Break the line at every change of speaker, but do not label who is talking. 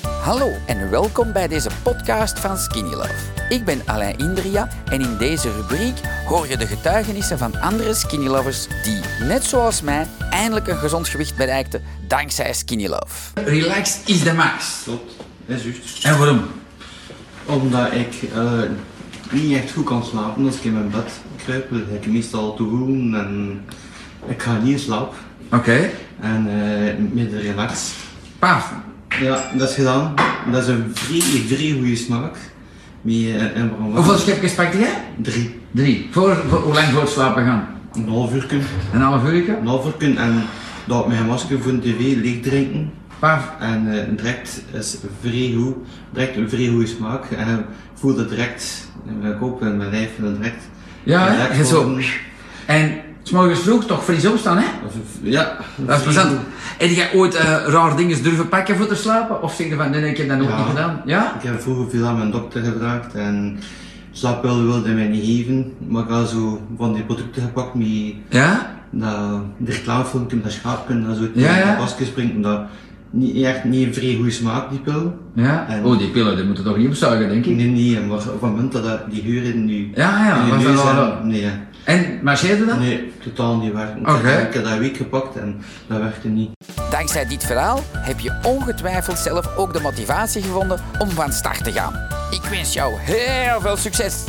Hallo en welkom bij deze podcast van Skinny Love. Ik ben Alain Indria en in deze rubriek hoor je de getuigenissen van andere Skinny Lovers die, net zoals mij, eindelijk een gezond gewicht bereikten dankzij Skinny Love. Relax is de max.
Klopt, dat is juist.
En waarom?
Omdat ik eh, niet echt goed kan slapen als ik in mijn bed kruip, lig ik meestal te woelen en ik ga niet in slaap.
Oké.
En eh midden relax.
Paaf.
Ja, dat is gedaan. Dat is een vrij, vrij goede smaak. Met eh, een brand.
Hoeveel schepjes pakte jij?
Drie.
Drie. Voor, voor- hoe lang voor het slapen gaan?
Een half uur kunnen.
Een half uurtje?
Een half uur kunnen en dat ik mijn masker voor de tv leeg drinken.
Paaf.
En eh, direct is vrij goed, direct een vrij goede smaak. En ik voel dat direct eh, in mijn kop en mijn lijf en direct.
Ja, hè?
direct
Je zo.
worden.
En s'morgens vroeg toch fris opstaan, hè?
Ja,
Dat is plezant. Heb jij ooit eh, raar dingen durven pakken voor te slapen? Of zeg je van, nee, nee, ik heb dat nog
Ja.
niet gedaan? Ja?
Ik heb vroeger veel aan mijn dokter gevraagd en slaapwil wilde mij niet geven. Maar ik had zo van die producten gepakt met
Ja?
dat, de reclamefilmpje, dat schaapje, dat zo
Ja, ja.
tegen de basket springt. en Dat niet echt niet een vrij goede smaak, die pil.
Ja?
En-
Oh, die pillen, die moeten toch niet opzuigen, denk ik?
Nee, nee, eh, maar op het moment dat dat die geur in nu.
Ja, ja, was dat wel-
Nee, hè.
En marcheerde dat?
nee, totaal niet werken.
Oké.
Ik heb dat een week gepakt en dat werkte niet.
Dankzij dit verhaal heb je ongetwijfeld zelf ook de motivatie gevonden om van start te gaan. Ik wens jou heel veel succes!